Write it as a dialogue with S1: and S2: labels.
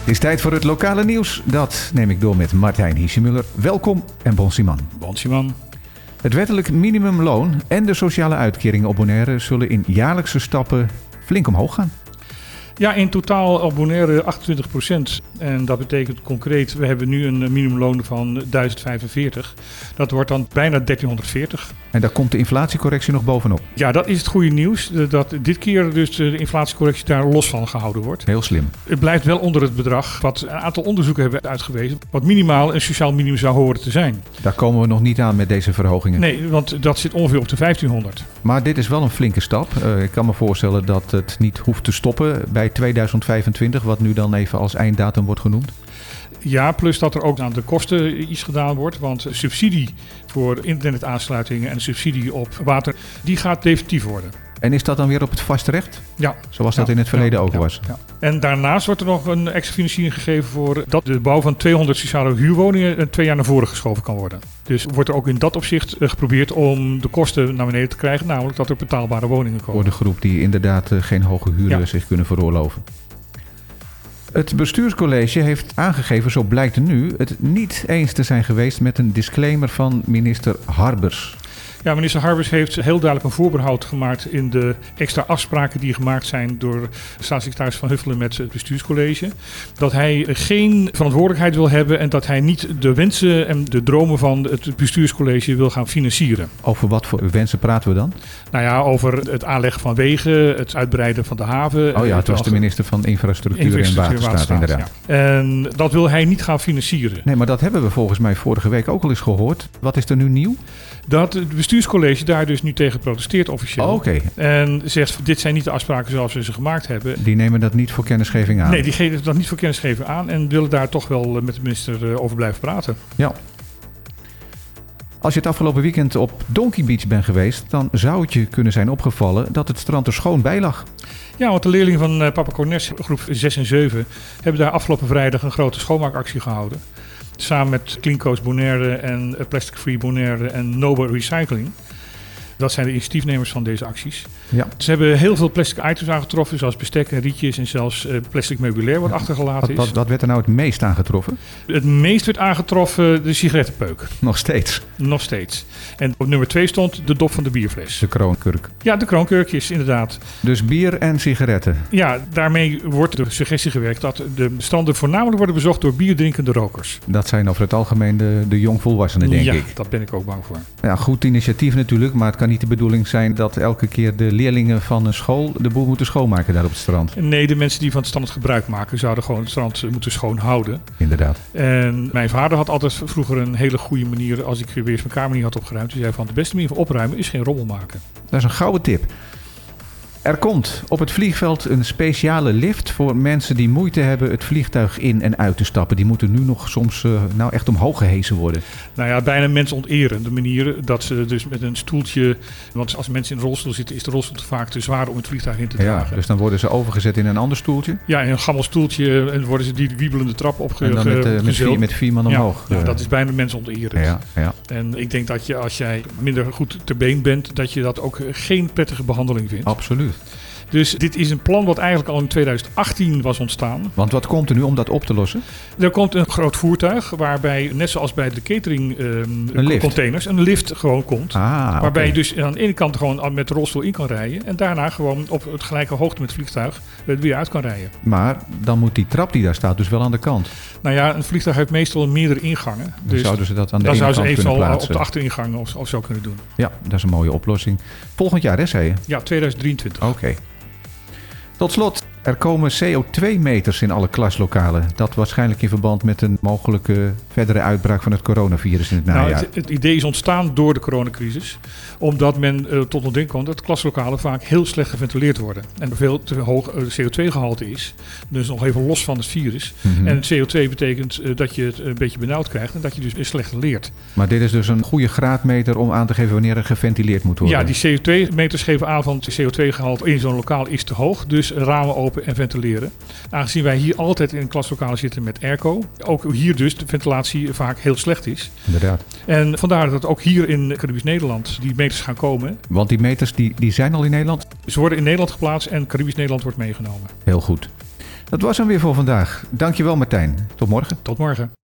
S1: Het is tijd voor het lokale nieuws. Dat neem ik door met Martijn Hiesemuller. Welkom en bon Siman.
S2: Bonsiman.
S1: Het wettelijk minimumloon en de sociale uitkeringen op Bonaire zullen in jaarlijkse stappen flink omhoog gaan.
S2: Ja, in totaal op Bonaire 28%. En dat betekent concreet, we hebben nu een minimumloon van 1045. Dat wordt dan bijna 1340.
S1: En daar komt de inflatiecorrectie nog bovenop.
S2: Ja, dat is het goede nieuws. eh, Dat dit keer dus de inflatiecorrectie daar los van gehouden wordt.
S1: Heel slim.
S2: Het blijft wel onder het bedrag wat een aantal onderzoeken hebben uitgewezen. Wat minimaal een sociaal minimum zou horen te zijn.
S1: Daar komen we nog niet aan met deze verhogingen.
S2: Nee, want dat zit ongeveer op de 1500.
S1: Maar dit is wel een flinke stap. Eh, ik kan me voorstellen dat het niet hoeft te stoppen bij 2025, wat nu dan even als einddatum wordt genoemd.
S2: Ja, plus dat er ook aan de kosten iets gedaan wordt. Want de subsidie voor internetaansluitingen en de subsidie op water, die gaat definitief worden.
S1: En is dat dan weer op het vast recht,
S2: Ja.
S1: zoals dat
S2: Ja,
S1: in het verleden
S2: ja,
S1: ook
S2: ja,
S1: was?
S2: ja. En daarnaast wordt er nog een extra financiering gegeven voor dat de bouw van 200 sociale huurwoningen eh, twee jaar naar voren geschoven kan worden. Dus wordt er ook in dat opzicht eh, geprobeerd om de kosten naar beneden te krijgen, namelijk dat er betaalbare woningen komen.
S1: Voor de groep die inderdaad eh, geen hoge huren
S2: Ja.
S1: zich kunnen veroorloven. Het bestuurscollege heeft aangegeven, zo blijkt nu, het niet eens te zijn geweest met een disclaimer van minister Harbers.
S2: Ja, minister Harbers heeft heel duidelijk een voorbehoud gemaakt in de extra afspraken die gemaakt zijn door staatssecretaris Van Huffelen met het bestuurscollege. Dat hij geen verantwoordelijkheid wil hebben en dat hij niet de wensen en de dromen van het bestuurscollege wil gaan financieren.
S1: Over wat voor wensen praten we dan?
S2: Nou ja, over het aanleggen van wegen, het uitbreiden van de haven.
S1: Oh ja, het was de minister van Infrastructuur, en
S2: Infrastructuur en
S1: Waterstaat,
S2: Waterstaat,
S1: inderdaad.
S2: ja. En dat wil hij niet gaan financieren.
S1: Nee, maar dat hebben we volgens mij vorige week ook al eens gehoord. Wat is er nu nieuw?
S2: Dat het bestuurscollege daar dus nu tegen protesteert officieel.
S1: Oh, Oké,
S2: En zegt, dit zijn niet de afspraken zoals we ze gemaakt hebben.
S1: die nemen dat niet voor kennisgeving aan.
S2: Nee, die geven dat niet voor kennisgeving aan en willen daar toch wel eh, met de minister eh, over blijven praten.
S1: Als je het afgelopen weekend op Donkey Beach bent geweest, dan zou het je kunnen zijn opgevallen dat het strand er schoon bij lag.
S2: Ja, want de leerlingen van eh, Papa Cornes, groep 6 en 7, hebben daar afgelopen vrijdag een grote schoonmaakactie gehouden. Samen met Clean Coast Bonaire en eh, Plastic Free Bonaire en Noble Recycling. Dat zijn de initiatiefnemers van deze acties.
S1: Ja.
S2: Ze hebben heel veel plastic items aangetroffen, zoals bestek en rietjes en zelfs eh, plastic meubilair wat
S1: Ja,
S2: achtergelaten
S1: Wat, wat,
S2: is.
S1: wat werd er nou het meest aangetroffen?
S2: Het meest werd aangetroffen de sigarettenpeuk,
S1: Nog steeds.
S2: nog steeds. En op nummer 2 stond de dop van de bierfles.
S1: De kroonkurk.
S2: Ja, de kroonkurkjes, inderdaad.
S1: Dus bier en sigaretten.
S2: Ja, daarmee wordt de suggestie gewerkt dat de stranden voornamelijk worden bezocht door bierdrinkende rokers.
S1: Dat zijn over het algemeen de, de jongvolwassenen, denk
S2: ja,
S1: ik.
S2: dat ben ik ook bang voor.
S1: Ja, goed initiatief natuurlijk, maar het kan niet de bedoeling zijn dat elke keer de leerlingen van een school de boel moeten schoonmaken daar op het strand.
S2: Nee, de mensen die van het strand gebruik maken zouden gewoon het strand eh, moeten schoonhouden.
S1: Inderdaad.
S2: En mijn vader had altijd vroeger een hele goede manier, als ik weer eens mijn kamer niet had opgeruimd, die zei van de beste manier van opruimen is geen rommel maken.
S1: Dat is een gouden tip. Er komt op het vliegveld een speciale lift voor mensen die moeite hebben het vliegtuig in en uit te stappen. Die moeten nu nog soms eh, nou echt omhoog gehezen worden.
S2: Nou ja, bijna mensonterende manier dat ze dus met een stoeltje, want als mensen in een rolstoel zitten is de rolstoel te vaak te zwaar om het vliegtuig in te
S1: Ja,
S2: dragen.
S1: dus dan worden ze overgezet in een ander stoeltje.
S2: Ja, in een gammel stoeltje eh, en worden ze die wiebelende trap
S1: En dan met, eh, met, vier,
S2: opgezet.
S1: met vier man
S2: Ja,
S1: omhoog.
S2: ja,
S1: Eh,
S2: dat is bijna mensonterend.
S1: ja, ja.
S2: En ik denk dat je als jij minder goed ter been bent, dat je dat ook geen prettige behandeling
S1: Oh.
S2: vindt.
S1: Absoluut.
S2: Dus dit is een plan wat eigenlijk al in 2018 was ontstaan.
S1: Want wat komt er nu om dat op te lossen?
S2: Er komt een groot voertuig waarbij, net zoals bij de catering ehm,
S1: lift.
S2: containers, een lift gewoon komt.
S1: Ah, oké.
S2: Waarbij je dus aan de ene kant gewoon met de rolstoel in kan rijden. En daarna gewoon op het gelijke hoogte met het vliegtuig eh, weer uit kan rijden.
S1: Maar dan moet die trap die daar staat dus wel aan de kant.
S2: Nou ja, een vliegtuig heeft meestal meerdere ingangen.
S1: Dan
S2: Dus
S1: zouden ze dat aan de
S2: dan
S1: ene
S2: zouden ze
S1: kant kunnen
S2: eventueel op
S1: plaatsen.
S2: de achteringang of, of zo kunnen doen.
S1: Ja, dat is een mooie oplossing. Volgend jaar, hè, zei je?
S2: Ja, 2023.
S1: Oké. Tot slot, er komen CO2-meters in alle klaslokalen. Dat waarschijnlijk in verband met een mogelijke verdere uitbraak van het coronavirus in het
S2: Nou,
S1: najaar.
S2: het, het idee is ontstaan door de coronacrisis. Omdat men eh, tot ontdekking kwam dat klaslokalen vaak heel slecht geventileerd worden. En er veel te hoog eh, CO2-gehalte is. Dus nog even los van het virus.
S1: Mhm.
S2: En CO2 betekent eh, dat je het een beetje benauwd krijgt en dat je dus weer slechter leert.
S1: Maar dit is dus een goede graadmeter om aan te geven wanneer er geventileerd moet worden.
S2: Ja, die CO2-meters geven aan van het CO2-gehalte in zo'n lokaal is te hoog. Dus ramen open slopen en ventileren. Aangezien wij hier altijd in klaslokalen zitten met airco, ook hier dus de ventilatie vaak heel slecht is.
S1: Inderdaad.
S2: En vandaar dat ook hier in Caribisch Nederland die meters gaan komen.
S1: Want die meters die, die zijn al in Nederland.
S2: Ze worden in Nederland geplaatst en Caribisch Nederland wordt meegenomen.
S1: Heel goed. Dat was hem weer voor vandaag. Dankjewel Martijn. Tot morgen.
S2: Tot morgen.